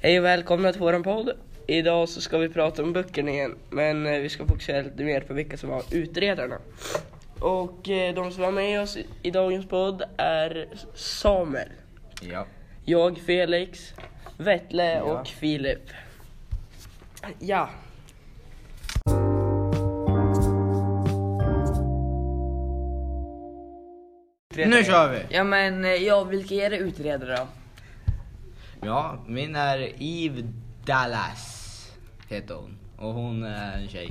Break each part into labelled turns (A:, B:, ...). A: Hej och välkomna till våran podd. Idag så ska vi prata om böckerna igen, men eh, vi ska fokusera lite mer på vilka som var utredarna. Och eh, de som var med oss i- i dagens podd är Samuel,
B: Ja.
A: jag Felix, Vettle
B: Ja.
A: och Filip. Ja.
B: Nu kör vi!
C: Ja men eh, ja, vilka är det utredare då?
B: Ja, min är Eve Dallas. Heter hon. Och hon är en tjej.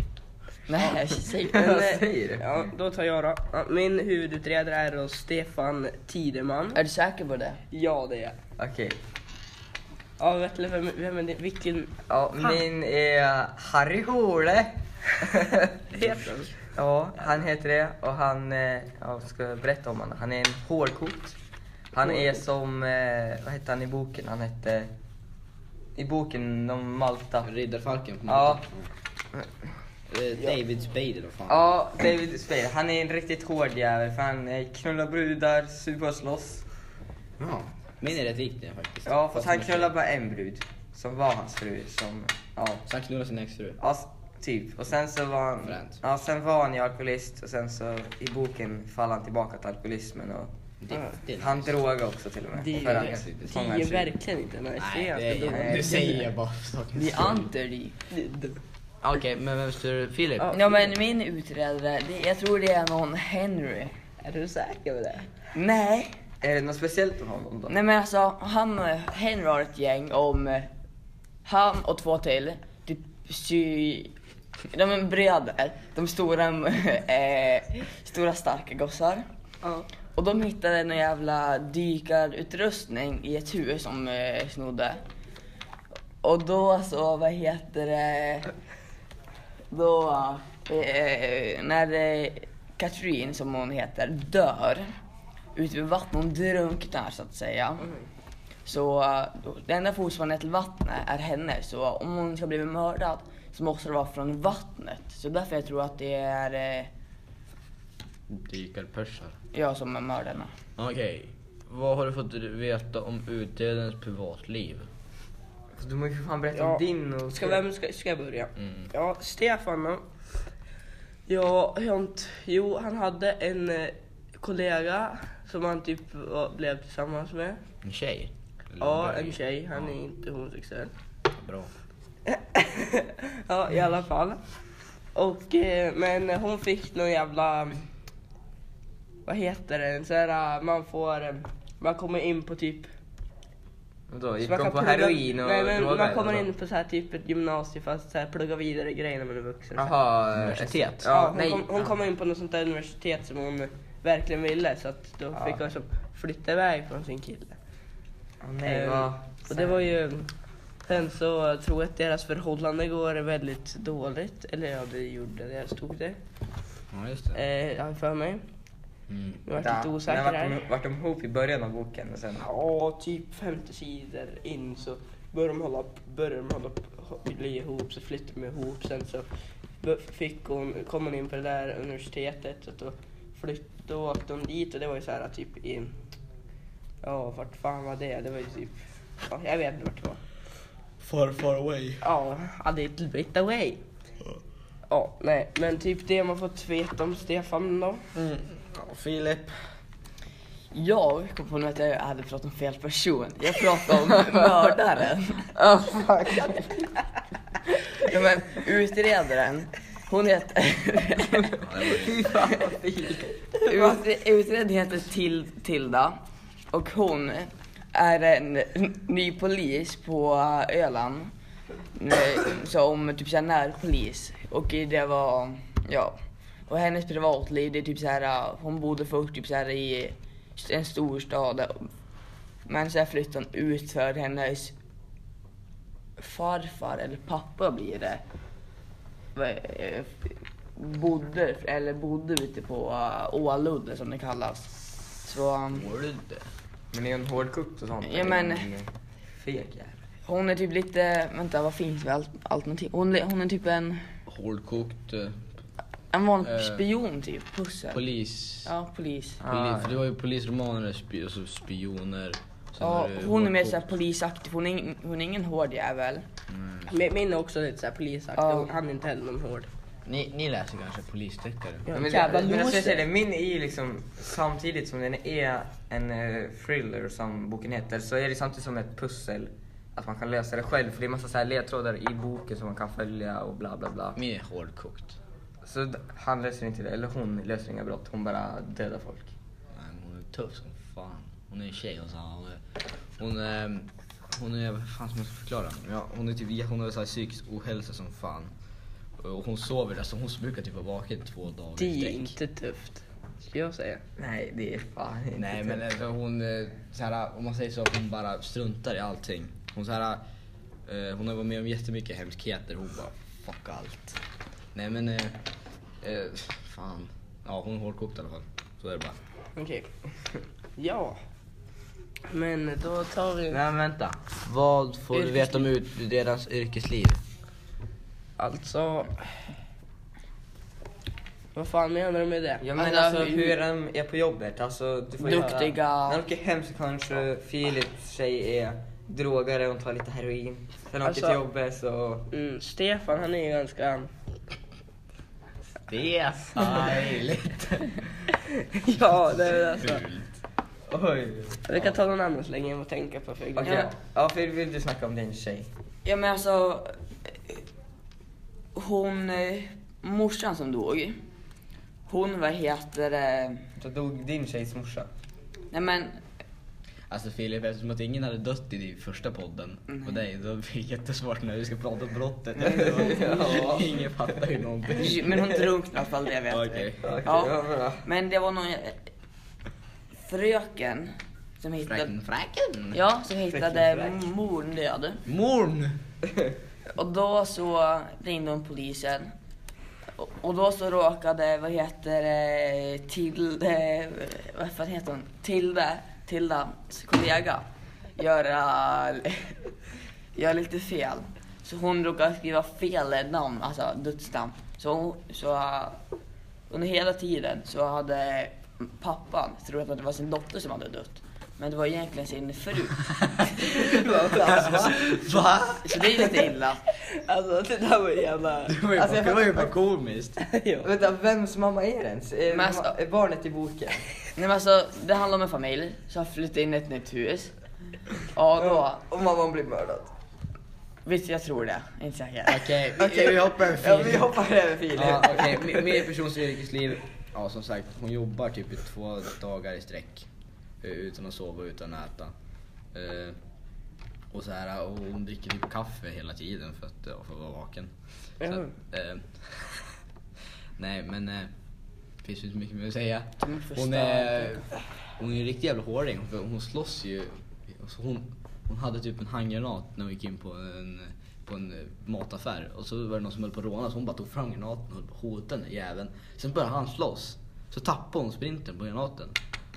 C: Nej, säg
A: Men,
C: det.
A: eh, Ja, då tar jag då. Ja, Min huvudutredare är då Stefan Tideman.
C: Är du säker på det?
A: Ja, det är jag.
D: Okej.
A: Ja, Vettle, vem, vem är det? Vilken
D: Ja, min är Harry Hole.
A: heter han?
D: ja, han heter det och han, eh, ja, jag ska berätta om honom. Han är en hårkot. Han är som, eh, vad hette han i boken? Han hette, i boken om Malta.
B: Riddarfalken på
D: Ja,
B: Eh, David Spade eller vad fan.
D: ja David Spade. Han är en riktigt hård jävel för han eh, knullar brudar, super och slåss.
B: Ja. Min är rätt lik den faktiskt.
D: Ja, fast han
B: hon är
D: knullar
B: tjej.
D: bara en brud. Som var hans fru, som, ja.
B: Så han knullar sin exfru.
D: Ja, s- typ. Och sen så var han,
B: Fränt.
D: ja, sen var han ju alkoholist och sen så i boken faller han tillbaka till alkoholismen och
B: Det, det är
D: han drogade också till och med.
A: Det är
D: för
A: ju
D: att
B: nice.
A: Det
D: fånga
A: är ju
D: en tjuv.
A: verkligen inte nice. Det är
B: Nej,
A: ganska
B: det
A: dåligt.
B: är, nu säger jag bara saker.
C: Vi antar dig.
B: Okej, men vem styr Filip?
C: Ja men min utredare, det, jag tror det är någon Henry.
A: Är du säker på det?
C: Nej,
D: Är det något speciellt med honom då?
C: nej men alltså han, eh, Henry har ett gäng om eh, han och två till, typ sy... De är bröder, de stora, eh, stora starka gossar.
A: Ja.
C: Och de hittade en jävla dykarutrustning i ett hus som eh, snodde. Och då så, vad heter det, då, eh, när eh, Katrin, som hon heter, dör ute vid vattnet, hon drunknar så att säga.
A: Mm.
C: Så eh, då- det enda fortfarande till vattnet är henne, så om hon ska bli mördad så måste det vara från vattnet. Så därför jag tror att det är eh,
B: Dykarpörsar.
C: jag som är mördarna.
B: Okej. Vad har du fått veta om utredarens privatliv?
D: Du måste ju för fan berätta
A: Ja.
D: om din och...
A: Ska, vem ska, ska jag börja?
B: Mm.
A: Ja, Stefan då. Ja, jag har inte- jo, han hade en eh, kollega som han typ var- blev tillsammans med.
B: En tjej? Eller
A: Ja,
B: bög?
A: en tjej. Han är inte homosexuell.
B: Bra.
A: ja, i alla fall. Och, eh, men hon fick någon jävla... Vad heter det? En sån här, eh, man får... eh, Man kommer in på typ...
D: Då, gick
A: så man
D: de
A: kan
D: på
A: plugga-
D: heroin och
A: Nej, men
D: droger? alltså.
A: man kommer
D: eller
A: in
D: så?
A: på så här typ ett gymnasium fast så här, plugga vidare grejer när man är vuxen.
D: Jaha, eh,
B: Universitet.
D: Ja,
A: Ja, hon
D: nej.
A: kom, hon
D: ja.
A: kom in på något sånt där universitet som hon verkligen ville så att då
D: Ja.
A: fick hon liksom flytta iväg från sin kille.
D: Ja, nej,
A: Ehm,
D: vad...
A: Och det var ju... Sen så tror jag att deras förhållande går väldigt dåligt. Eller ja, det gjorde det. Jag stod det.
B: Ja, just det.
A: Eh, har jag för mig.
B: Mm.
A: Nu vart jag lite osäker
D: Men vart
A: här.
D: de- Vart de ihop i början av boken och sen...
A: Ja, typ 50 sidor in så började de hålla, började de hålla bli ihop, så flyttade de ihop. Sen så b- fick hon, kom hon in på det där universitetet och då, flytt, då åkte hon dit och det var ju så här typ i... Ja, vart fan var det? Det var ju typ... Ja, jag vet inte vart det var.
B: Far, far away.
A: Ja, a little bit away. Ja, nej, men typ det man fått veta om Stefan då.
B: Mm. Ja, Filip.
C: Jag kom på nu att jag hade pratat om fel person. Jag pratade om mördaren.
D: Oh, fuck.
C: Ja, men utredaren, hon heter...
D: Fy fan vad fint.
C: Utre- Utredaren heter Til Tilda och hon är en n- ny polis på Öland. Nej, Som typ såhär närpolis. Och det var, ja. Och hennes privatliv, det är typ såhär, hon bodde först typ såhär i en storstad. Men sen flyttade hon ut för hennes farfar eller pappa blir det. Eh, bodde, eller bodde ute på uh, Åludde som det kallas. Så um,
B: Mår du inte?
D: Men är hon hårdkokt och sånt?
C: Ja, men-
D: Feg jävel.
C: hon är typ lite, vänta vad finns för al- alternativ? Hon, li- hon är typ en,
B: Hårdkokt eh,
C: en vanlig
B: Eh,
C: spion typ, pussel.
B: polis.
C: Ja, polis.
B: Poli-
D: Ah.
B: för det var ju polisromaner och spi- och så alltså spioner. Sen
C: Ja,
B: har du
C: hon är mer
B: hårdkokt.
C: såhär polisaktig, hon är, ing- hon är ingen hård jävel.
B: Mm.
A: Min, min är också lite såhär polisaktig,
C: Ja.
A: hon- han är inte heller någon hård.
B: Ni, ni läser kanske polisdeckare?
A: Ja,
D: men,
A: jävla
D: men jag ska säga det,
A: loser.
D: min är ju liksom samtidigt som den är en eh, thriller som boken heter så är det samtidigt som ett pussel. Att man kan lösa det själv för det är massa så här ledtrådar i boken som man kan följa och bla bla bla.
B: Min är hårdkokt.
D: Så d- han löser inte det, eller hon löser inga brott, hon bara dödar folk.
B: Nej, men hon är tuff som fan. Hon är en tjej och så här, hon är... Hon är... Hon är... Vad fan ska man förklara? Ja, hon är typ... Hon har så här psykisk ohälsa som fan. Och hon sover, alltså hon brukar typ vara vaken två dagar i
A: Det är
B: sträck.
A: inte tufft, skulle jag säga.
D: Nej det är fan inte typ.
B: Nej men
D: det.
B: alltså hon, eh, så här, om man säger så, hon bara struntar i allting. Hon så här, eh, hon har varit med om jättemycket hemskheter. Hon bara fuck allt. Nej men, eh, eh, fan. Ja hon är hårdkokt i alla fall. Så är det bara.
A: Okej. Ja. Men då tar vi
B: Nej men vänta. Vad får
A: du veta om
B: ut deras yrkesliv?
A: alltså... Vad fan menar du med det?
D: Ja men
C: Alla-
D: alltså hur de är på jobbet, alltså du får ju höra-
C: Duktiga.
D: När de åker hem så kanske Philips tjej är drogare, hon tar lite heroin. Sen åker
A: Alltså-
D: till jobbet så...
A: Mm, Stefan han är ju ganska...
B: Det är styligt.
A: ja, det är alltså...
B: Fult.
D: Oj!
A: Vi kan ta någon annan så länge jag måste tänka på. För jag
D: Okej,
A: glömmer.
D: ja. ja för vill du snacka om din tjej?
C: Ja men alltså, eh, hon, eh, morsan som dog, hon vad heter det,
D: Då dog din tjejs morsa.
C: nej men,
B: Alltså Filip, eftersom att ingen hade dött i din första podden
C: Nej.
B: och dig, då blir det jättesvårt när vi ska prata om brottet.
D: Ja.
B: Ingen fattar ju någonting.
C: men hon drunknade i alla fall, det vet vi.
B: Okej.
D: Okej,
C: Ja.
D: ja. bra.
C: Men det var någon eh, fröken som hittade,
B: Fräken, fräken!
C: ja, som hittade
D: Fröken,
C: morn död.
B: Morn!
C: Och då så ringde hon polisen. Och- Och då så råkade, vad heter det, Tilde, vad fan heter hon? Tilde, Tildas kollega göra, göra lite fel. Så hon råkade skriva fel namn, alltså dödsnamn. Så, hon- så uh, under hela tiden så hade pappan trott att det var sin dotter som hade dött. Men det var egentligen sin fru.
B: Alltså, Va?
C: Så det är lite illa.
A: Alltså det där var jävla...
B: Det var ju
D: Alltså,
B: bara,
D: jag
B: det var ju bara komiskt.
A: ja.
D: Vänta, vems mamma är det ens? Är,
C: Men alltså-
D: ma- är barnet i boken?
C: Nej men alltså, det handlar om en familj som har flyttat in i ett nytt hus. Ja, då.
D: Och mamman blir mördad.
C: Visst, jag tror det. Inte säker.
B: Okej, vi, vi hoppar en
D: Ja,
B: film.
D: vi hoppar över Filip.
B: Ja, okej, min- min persons yrkesliv, ja som sagt, hon jobbar typ i två dagar i sträck. eh, Utan att sova och utan att äta. Eh, och så här, och hon dricker typ kaffe hela tiden för att, eh, för att vara vaken. Så att,
A: Jaha.
B: eh, nej men, eh, finns ju inte mycket mer att säga.
C: Kan man förstå
B: Hon är, hon är ju en riktig jävla hårding, för hon slåss ju. Alltså hon, hon hade typ en handgranat när hon gick in på en, på en eh, mataffär och så var det någon som höll på att råna så hon bara tog fram granaten och höll på att hota den där jäveln. Sen började han slåss. Så tappade hon sprinten på granaten.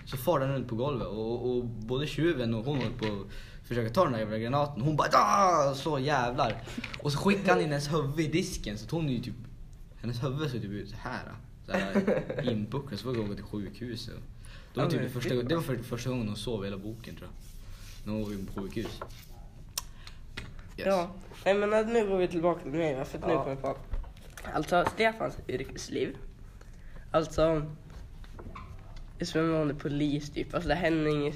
B: Så far den runt på golvet och, och både tjuven och hon höll på att försöka ta den där jävla granaten. Hon bara "Ah!" så jävlar. Och så skickade han in hennes huvud i disken så att hon är ju typ, hennes huvud ser typ ut så här. Så här inbuktad så får hon gå till sjukhuset. Det var,
D: Ja,
B: typ
D: men
B: det, första,
D: fy fan.
B: det var för, första gången hon sov i hela boken tror jag. När hon var på sjukhus. Yes.
A: ja. Nej men att nu går vi tillbaka till mig va, för att nu
D: Ja.
A: kommer jag på... Alltså Stefans yrkesliv. Alltså... Som hon är polis typ. Alltså det händer inget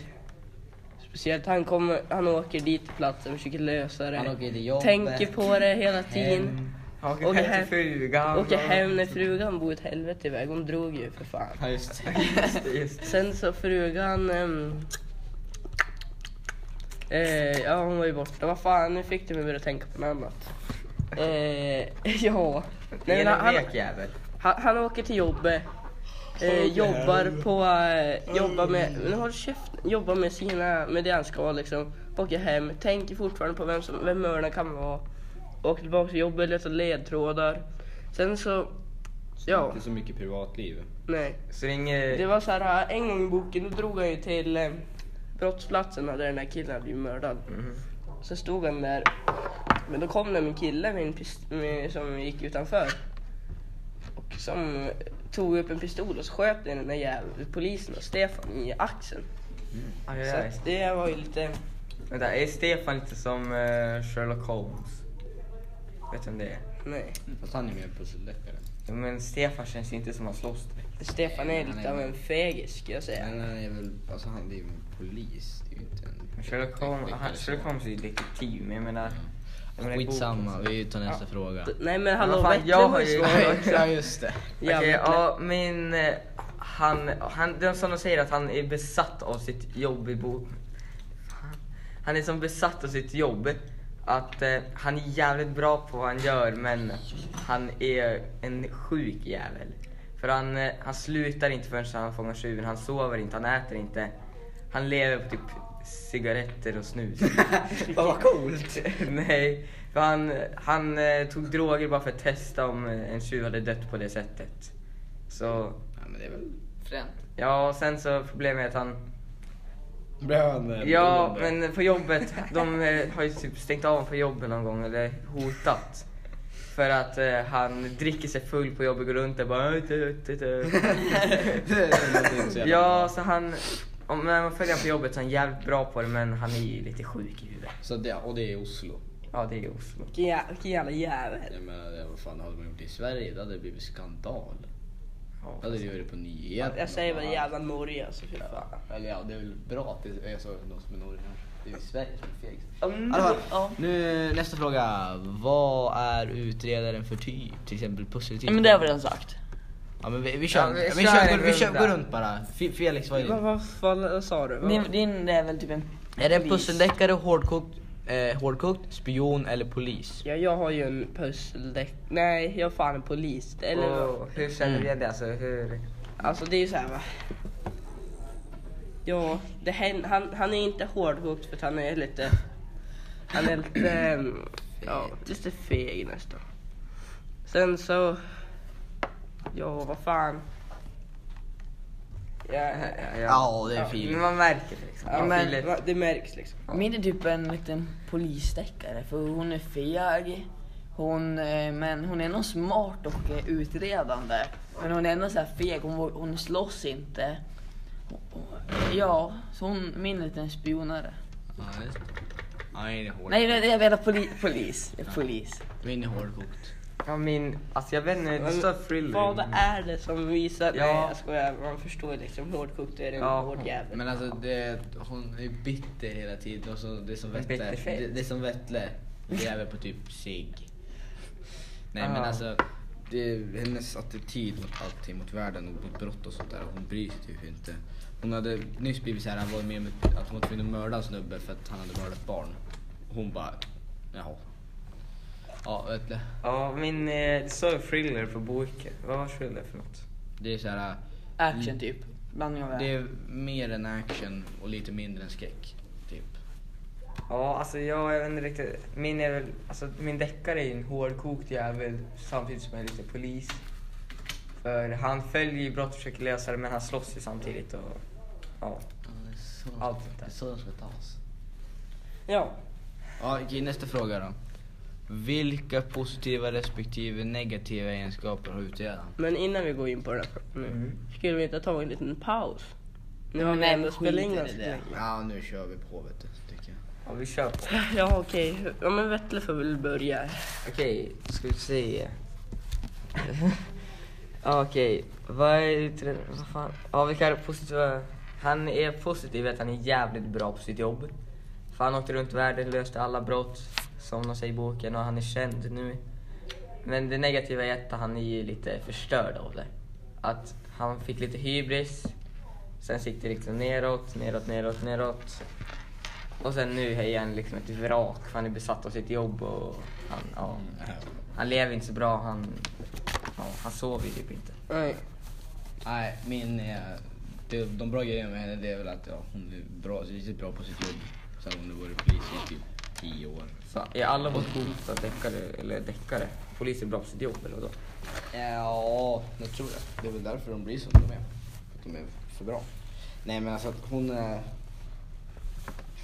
A: speciellt. Han, kommer, han åker dit till platsen och försöker lösa det.
B: Han åker till jobbet.
A: Tänker på det hela tiden.
D: Han åker
A: Åker
D: hem
A: hem.
D: till frugan.
A: Åker hem när frugan bor ett helvete iväg. Hon drog ju för fan.
B: Ja just det.
D: Just det, just det.
A: Sen så frugan... ehm, eh, ja, hon var ju borta. Vad fan, nu fick du mig börja tänka på något annat. Eh, ja.
D: Det
A: Nej,
D: är
A: men
D: en
A: han,
D: vek jävel.
A: han, han åker till jobbet. Eh, jobbar på... Eh, jobbar
D: Mm.
A: med... Men håll käften. Jobbar med sina... Med det han ska liksom. Åker hem. Tänker fortfarande på vem som... Vem mördarna kan vara. Åker tillbaka till jobbet, letar ledtrådar. Sen så... Ja,
B: Inte så mycket privatliv.
A: nej.
D: Så det är inget...
A: Det var så här, en gång i boken då drog han ju till eh, brottsplatsen där den där killen hade blivit mördad.
D: Mhm.
A: Så stod han där, men då kom det en kille med en pist- med, som gick utanför. Och som eh, tog upp en pistol och så sköt den där jävla polisen och Stefan i axeln.
D: Aj, aj,
A: Så
D: aj.
A: att det var ju lite...
D: Vänta, är Stefan lite som eh, Sherlock Holmes? Vet du vem det är?
A: Nej.
B: Fast han är mer pusselläckare.
D: Jo, men Stefan känns inte som han slåss direkt.
A: Stefan
B: Nej,
A: är
B: han
A: lite
B: är-
A: av en fegis skulle jag säga.
B: Men han är väl, alltså han det är ju en polis. Det är ju inte en...
D: Men Sherlock Holmes, han, Sherlock Holmes är ju detektiv, men jag menar... jag menar i boken
B: Skitsamma,
D: så-
B: vi tar nästa fråga.
A: Nej men
D: Men
A: hallå,
D: vad fan,
A: Vettle
D: jag
A: var ju
D: har ju-
A: svår också.
B: ja just det.
A: Ja,
D: Okej,
A: Vettle.
D: ja, min... eh, Han, han, den som de säger att han är besatt av sitt jobb i bo... Fan. Han är som besatt av sitt jobb. Att eh, han är jävligt bra på vad han gör men han är en sjuk jävel. För han, eh, han slutar inte förrän han fångar tjuven, han sover inte, han äter inte. Han lever på typ cigaretter och snus.
B: Fan vad coolt!
D: Nej, för han, han eh, tog droger bara för att testa om eh, en tjuv hade dött på det sättet. Så,
B: Ja men det är väl...
C: Fränt.
D: ja och sen så problemet är att han...
B: Brön.
D: Ja, men på jobbet, de eh, har ju typ stängt av honom på jobbet någon gång eller hotat. För att eh, han dricker sig full på jobbet, går runt där bara... "Tut, tut, tut."
B: det låter inte så jävla
D: Ja,
B: bra.
D: så han... Om när man följer honom på jobbet så är han jävligt bra på det men han är ju lite sjuk i huvudet.
B: Så det, och det är Oslo.
D: Ja, det är Oslo.
A: Vilken jä- vilken jävla jävel.
B: Jag menar, det- vad fan hade man gjort i Sverige? Då hade det blivit skandal.
D: Ja,
B: Då hade det varit på nyheterna.
A: Jag säger väl jävla Norge alltså, fy fan.
B: Eller ja, det är väl bra att det är så, de som är norrmän. Det är ju Sverige som är fegis.
D: Mm, ja.
B: Nu nästa fråga. Vad är utredaren för typ? Till exempel pusseltyp?
C: Nej, men det har vi redan sagt.
B: Ja men vi, vi kör,
D: Ja,
B: vi,
D: vi
B: kör, vi,
D: kör
B: kör,
D: en
B: vi kör,
D: runda.
B: gå runt bara. F- Felix vad är
A: Vad
B: din?
A: vad fan sa du? Vad-
C: Din, din är väl typ en...
B: Är det en
C: polis?
B: pusseldeckare, hårdkokt, eh, hårdkokt, spion eller polis?
A: Ja, jag har ju en pusseldäck. Nej, jag har fan en polis. Eller
D: Och hur känner vi det? Alltså, hur...
A: Alltså det är ju så här va. Ja, det hän- han, han är inte hårdkokt för att han är lite... Han är lite... ehm, ja, lite feg nästan. Sen så... Ja, vad fan. Ja,
D: Ja,
B: Ja, det är fint.
D: Men man märker det liksom.
A: ja,
D: Man
A: men,
D: vill-
A: va- det märks liksom.
C: Min är typ en liten polisdeckare för hon är feg. Hon, eh, men hon är nog smart och eh, utredande. Men hon är ändå så här feg, hon, vå- hon slåss inte. Och- och- Ja, så hon, min är en liten spionare.
B: Ja, just det. Ja, min är hårdkokt.
C: Nej, nej, jag menar poli, polis. Jag är Polis.
B: Min är hårdkokt.
D: Ja, min... Alltså jag vet inte, det står thriller.
A: Vad är det som visar...
D: Ja.
A: Nej jag skojar, man förstår liksom. Hårdkokt är en
D: Ja,
A: hård jävel.
B: Men alltså det, hon är bitter hela tiden och så det är som Vettle.
D: bitterfet.
B: Det, det är som Vettle. Det är väl på typ sig. Nej men
D: Ah.
B: alltså. Det är hennes attityd mot allting, mot världen och mot brott och sånt där. Hon bryr sig typ inte. Hon hade nyss blivit såhär, han var med om att hon var tvungen att mörda en snubbe för att han hade mördat ett barn. Och hon bara, jaha. Ja, Vettle.
D: Ja, min... eh, Det står thriller på boken. Vad var thriller för något?
B: Det är såhär,
C: Action typ. Blandning av
B: det är mer en action och lite mindre än skräck. Typ.
D: Ja, alltså jag, jag vet inte riktigt. Min är väl... Alltså min deckare är ju en hårdkokt jävel samtidigt som jag är lite polis. För han följer ju brott och försöker lösa det men han slåss ju samtidigt och... Ja.
B: Ja, det är så de
D: Allt
B: ska-
D: sånt där.
B: det är så de ska tas.
A: Ja.
B: Ja, okej, nästa fråga då. Vilka positiva respektive negativa egenskaper har utredaren?
A: Men innan vi går in på den här frågan nu. Skulle vi inte ta en liten paus? Nu har
C: Men
A: vi ändå spelat
C: skiter
A: in
C: i
A: ganska
C: det.
A: länge.
B: Ja, nu kör vi på vet du, tycker jag.
D: Ja, vi kör på.
A: Ja okej, ja, men Vettle får väl börja.
D: Okej, ska vi se. Ja, Okej, vad är utred- Vad fan? Ja, vilka är positiva... Han är positiv i att han är jävligt bra på sitt jobb. För han åkte runt i världen, löste alla brott, som de säger i boken, och han är känd nu. Men det negativa är att han är ju lite förstörd av det. Att han fick lite hybris, sen gick det liksom neråt, neråt, neråt, neråt. Och sen nu är han liksom ett vrak, för han är besatt av sitt jobb och han, ja. Han lever inte så bra, han, ja, han sover ju typ inte.
A: Nej.
B: Nej, min är... Det, de bra grejerna med henne det är väl att ja, hon är bra, riktigt bra på sitt jobb. Sen hon har varit polis i typ tio år.
D: Så är alla vårt hot att deckare, eller deckare, polis är bra på sitt jobb eller vadå?
B: Ja, det tror jag. Det är väl därför de blir som de är. För att de är för bra. Nej men alltså att hon är...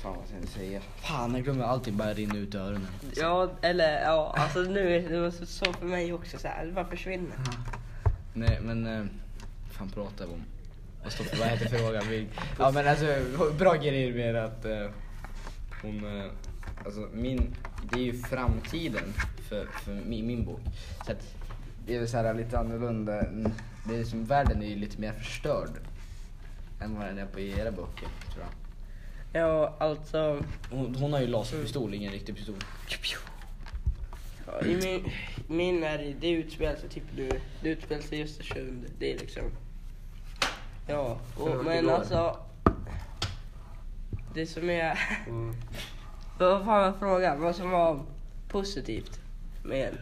B: Fan vad ska jag säga? Fan, jag glömmer allting bara rinna ut i öronen.
A: Ja, eller ja, alltså nu är det så- så för mig också så här, det bara försvinner.
B: Nej men, eh, fan pratar vi om? Vad står för, vad heter frågan? Vi, ja men alltså bra grejer med att eh, hon, eh, alltså min, det är ju framtiden för, för min, min bok. Så att det är väl så här lite annorlunda, än- det är som världen är ju lite mer förstörd än vad den är på era böcker tror jag.
A: Ja, alltså.
B: Hon, hon har ju laserpistol, ingen riktig pistol.
A: Ja, I min, min är det utspelar sig typ nu. Det utspelar sig i Östersund. Det är liksom. Ja, och, men
B: igår.
A: alltså. Det som är. Vad fan var frågan? Vad som var positivt med en?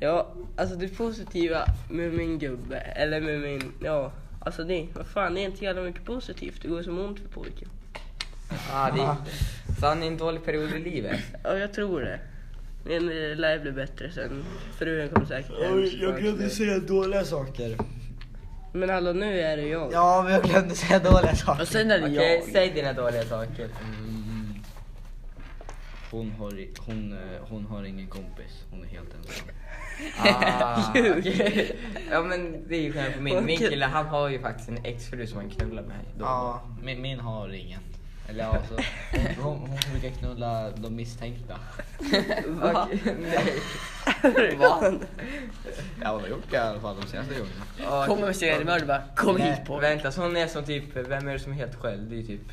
A: Ja, alltså det positiva med min gubbe, eller med min, ja. Alltså det, vad fan, det är inte jävla mycket positivt. Det går som ont för pojken.
D: Ah, det är, så han är i en dålig period i livet.
A: Ja, jag tror det. Men det lär bli bättre sen. Fruen kommer säkert hem.
E: Jag glömde säga dåliga saker.
A: Men hallå, nu är det jag.
E: Ja, men jag glömde säga dåliga saker.
C: Och sen är det
D: Okej,
C: jag.
D: säg dina dåliga saker.
B: Mm. Hon, har, i- hon, eh, hon har ingen kompis, hon är helt ensam.
D: Ah,
A: Ljug.
D: okej. Ja men det är ju skillnad på min. Min kille han har ju faktiskt en exfru som han knullar med. Då.
E: Ja.
B: Min, min har ingen. Eller ja, alltså, hon, hon brukar knulla de misstänkta.
A: Va?
C: Va?
B: Ja, hon har gjort det i alla fall de senaste gångerna.
D: Och-
C: Kommer med seriemördare bara, kom hit på.
D: Vänta, så hon är som typ, vem är det som är helt själv? Det är ju typ...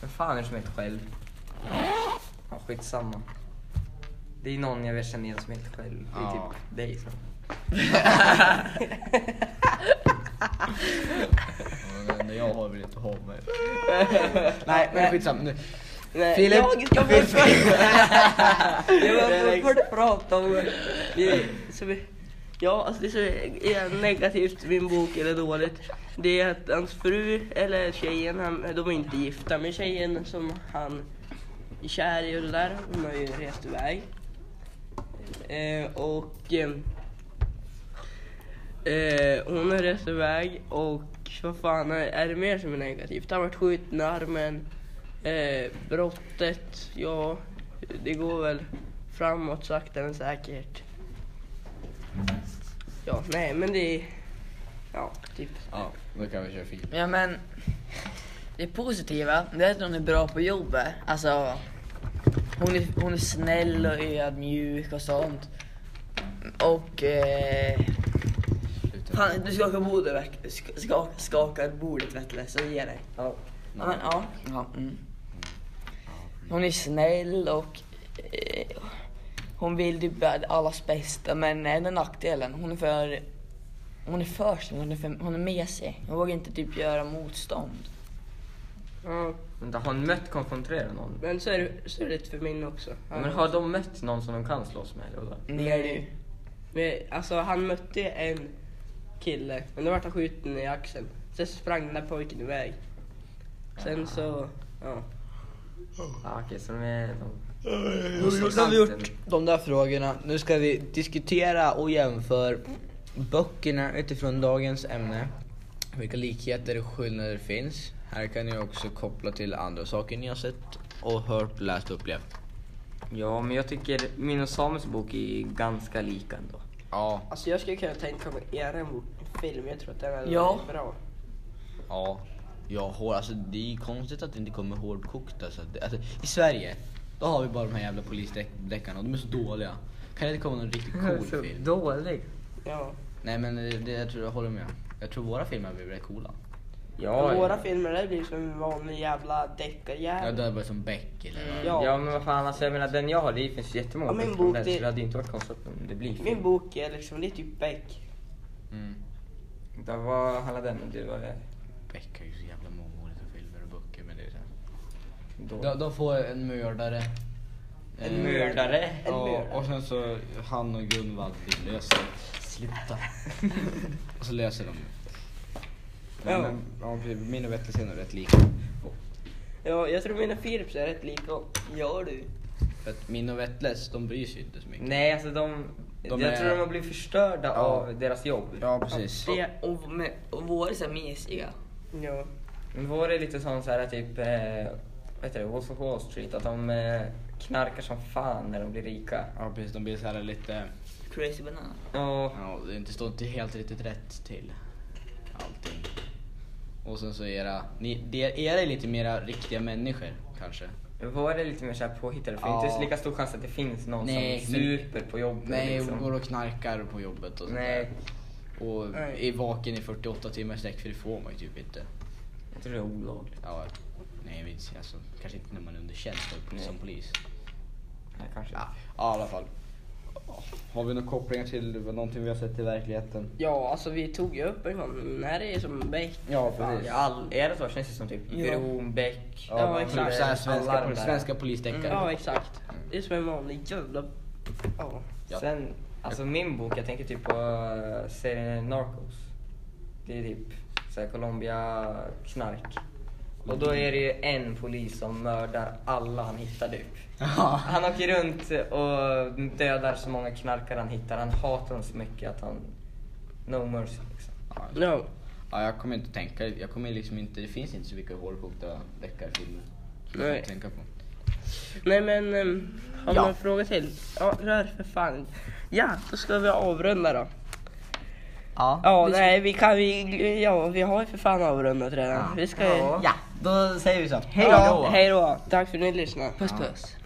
D: Vem fan är det som är helt själv? Ja, skitsamma. Det är någon jag känner igen som är helt själv. Det är
B: Ja.
D: typ dig. så.
B: Men jag har väl inte ha mig. Eh, Nej, men skitsamma nu.
A: Nej,
B: Filip.
A: Jag ska
B: Filip.
A: få Jag får prata om det. Som är, ja, alltså det som är negativt i min bok, eller dåligt, det är att hans fru, eller tjejen, han, de är inte gifta, men tjejen som han är kär i och det där, hon har ju rest iväg. Eh, och ehm, eh, hon har rest iväg och vad fan är, är det mer som är negativt? Han har varit skjuten i armen. Eh, brottet, ja, det går väl framåt sakta men säkert. Ja, nej men det är... Ja, typ.
B: Ja, då kan vi köra film.
C: Ja men, det positiva, det är att hon är bra på jobbet. Alltså, hon är, hon är snäll och ödmjuk och sånt. Och, eh, fan, du skakar bordet, verk- sk- skak, skakar bordet Vetle, så ge dig. Ja. Ja, men, ja. ja mm. Hon är snäll och eh, hon vill typ allas bästa men är den nackdelen, hon är för hon är för snäll, hon är, för, hon är mesig. Hon vågar inte typ göra motstånd.
A: Ja,
D: Vänta, har hon mött konfrontera någon?
A: men så är, det, så är det lite för min också.
D: Ja, men har de mött någon som de kan slåss med? Eller? vad?
C: Ner nu.
A: Men, alltså han mötte en kille, men då vart han skjuten i axeln. Sen sprang den där pojken iväg. Sen så, ja.
D: Ah, Okej, så de är... De,
E: Nu har vi gjort de där frågorna. Nu ska vi diskutera och jämföra böckerna utifrån dagens ämne. Vilka likheter och skillnader det finns. Här kan ni också koppla till andra saker ni har sett och hört, läst och upplevt.
D: Ja, men jag tycker min och Samuels bok är ganska lika ändå.
B: Ja,
A: Alltså jag skulle kunna tänka mig era bok, film, jag tror att den hade
C: Ja.
A: varit bra.
B: Ja, ja hår, alltså det är konstigt att det inte kommer hårdkokt alltså, det, alltså, I Sverige, då har vi bara de här jävla polisdeckarna och de är så dåliga. Kan det inte komma någon riktigt cool film?
D: dålig.
A: Ja.
B: Nej men eh, det, det, jag tror jag håller med. Jag tror våra filmer blir rätt coola.
D: Ja,
A: Våra filmer det blir som en vanlig jävla
B: Ja,
A: deckarjävel.
B: det är bara som Beck eller
A: Ja.
D: Ja men vad fan alltså jag menar den jag har det finns ju jättemånga
A: Ja, min
D: böcker om
A: bok,
D: den,
A: det-
D: så det hade ju inte varit konstigt om det blir film.
A: Min bok är liksom, det är typ Beck.
B: mm.
D: Det var, handlar den om? Det var eh,
B: Beck har ju så jävla många olika filmer och böcker men det är så här.
D: då.
B: De, de får en mördare.
A: En
B: eh,
A: mördare.
D: mördare.
A: En
B: Ja,
A: mördare.
B: och sen så han och Gunvald vill lösa det. Sluta. och så löser de det.
A: Ja.
B: Ja. Men, ja, min och Vettles är nog rätt lika.
A: Ja, jag tror mina Philips är rätt lika. Ja du.
B: För att min och Vettles, de bryr sig inte så mycket.
D: Nej alltså de,
B: De
D: jag
B: är-
D: tror de har blivit förstörda av deras jobb.
B: Ja, precis.
C: Det, och, med, och våra är så här mesiga.
A: Ja.
D: Men vår är lite sån så här typ, eh, vad heter det, Wolf of Wall Street, att de eh, knarkar som fan när de blir rika.
B: Ja, precis. De blir så här lite...
C: Crazy banana.
D: Och,
B: Ja, det står inte helt riktigt rätt till. allting. Och sen så era, ni, de- era är lite mera riktiga människor kanske.
D: Var det lite mer såhär påhittade? För
B: Ja.
D: inte så lika stor chans att det finns någon
B: Nej,
D: som
B: men-
D: super på jobbet
B: Nej,
D: liksom.
B: går och knarkar på jobbet och sånt
D: Nej,
B: där. Och
C: Nej.
B: är vaken i 48 timmar i sträck för det får man ju typ inte.
D: jag tror det är olagligt.
B: Ja, nej jag vet inte, alltså, kanske inte när man är under tjänst och- som
D: Nej.
B: polis.
D: Nej, kanske.
B: Ja, i alla fall. Har vi några kopplingar till någonting vi har sett i verkligheten?
C: Ja, alltså vi tog ju upp en sån. När det är som bäck.
B: Ja,
D: Fan, All, är det så känns det som typ bron, bäck,
C: Ja,
B: Ja,
C: exakt.
B: typ såhär svenska,
D: Alarm
B: pol-
D: där. Mm.
B: svenska polisdeckare.
C: Ja, exakt. Det är som en vanlig jävla... Ja.
B: Ja.
D: Sen, alltså min bok, jag tänker typ på eh, serien Narcos. Det är typ såhär Colombia knark. Och då är det ju en polis som mördar alla han hittar typ.
B: Ja.
D: Han åker runt och dödar så många knarkare han hittar. Han hatar dem så mycket att han... No mercy liksom.
C: No.
B: ja, jag kommer inte tänka, jag kommer liksom inte, det finns inte så mycket hårdkokta deckarfilmer. som jag
C: Nej.
B: kan Tänka på.
C: Nej men, ehm, har
B: Ja.
C: man en fråga till? Ja, rör för fan. Ja, då ska vi avrunda då.
B: Ja.
C: Ja, nej vi kan, vi, ja vi har ju för fan avrundat redan. Vi ska ju...
B: ja, då säger vi så. Hej
C: Ja, hej då. Tack för att ni lyssnade.
F: Puss puss.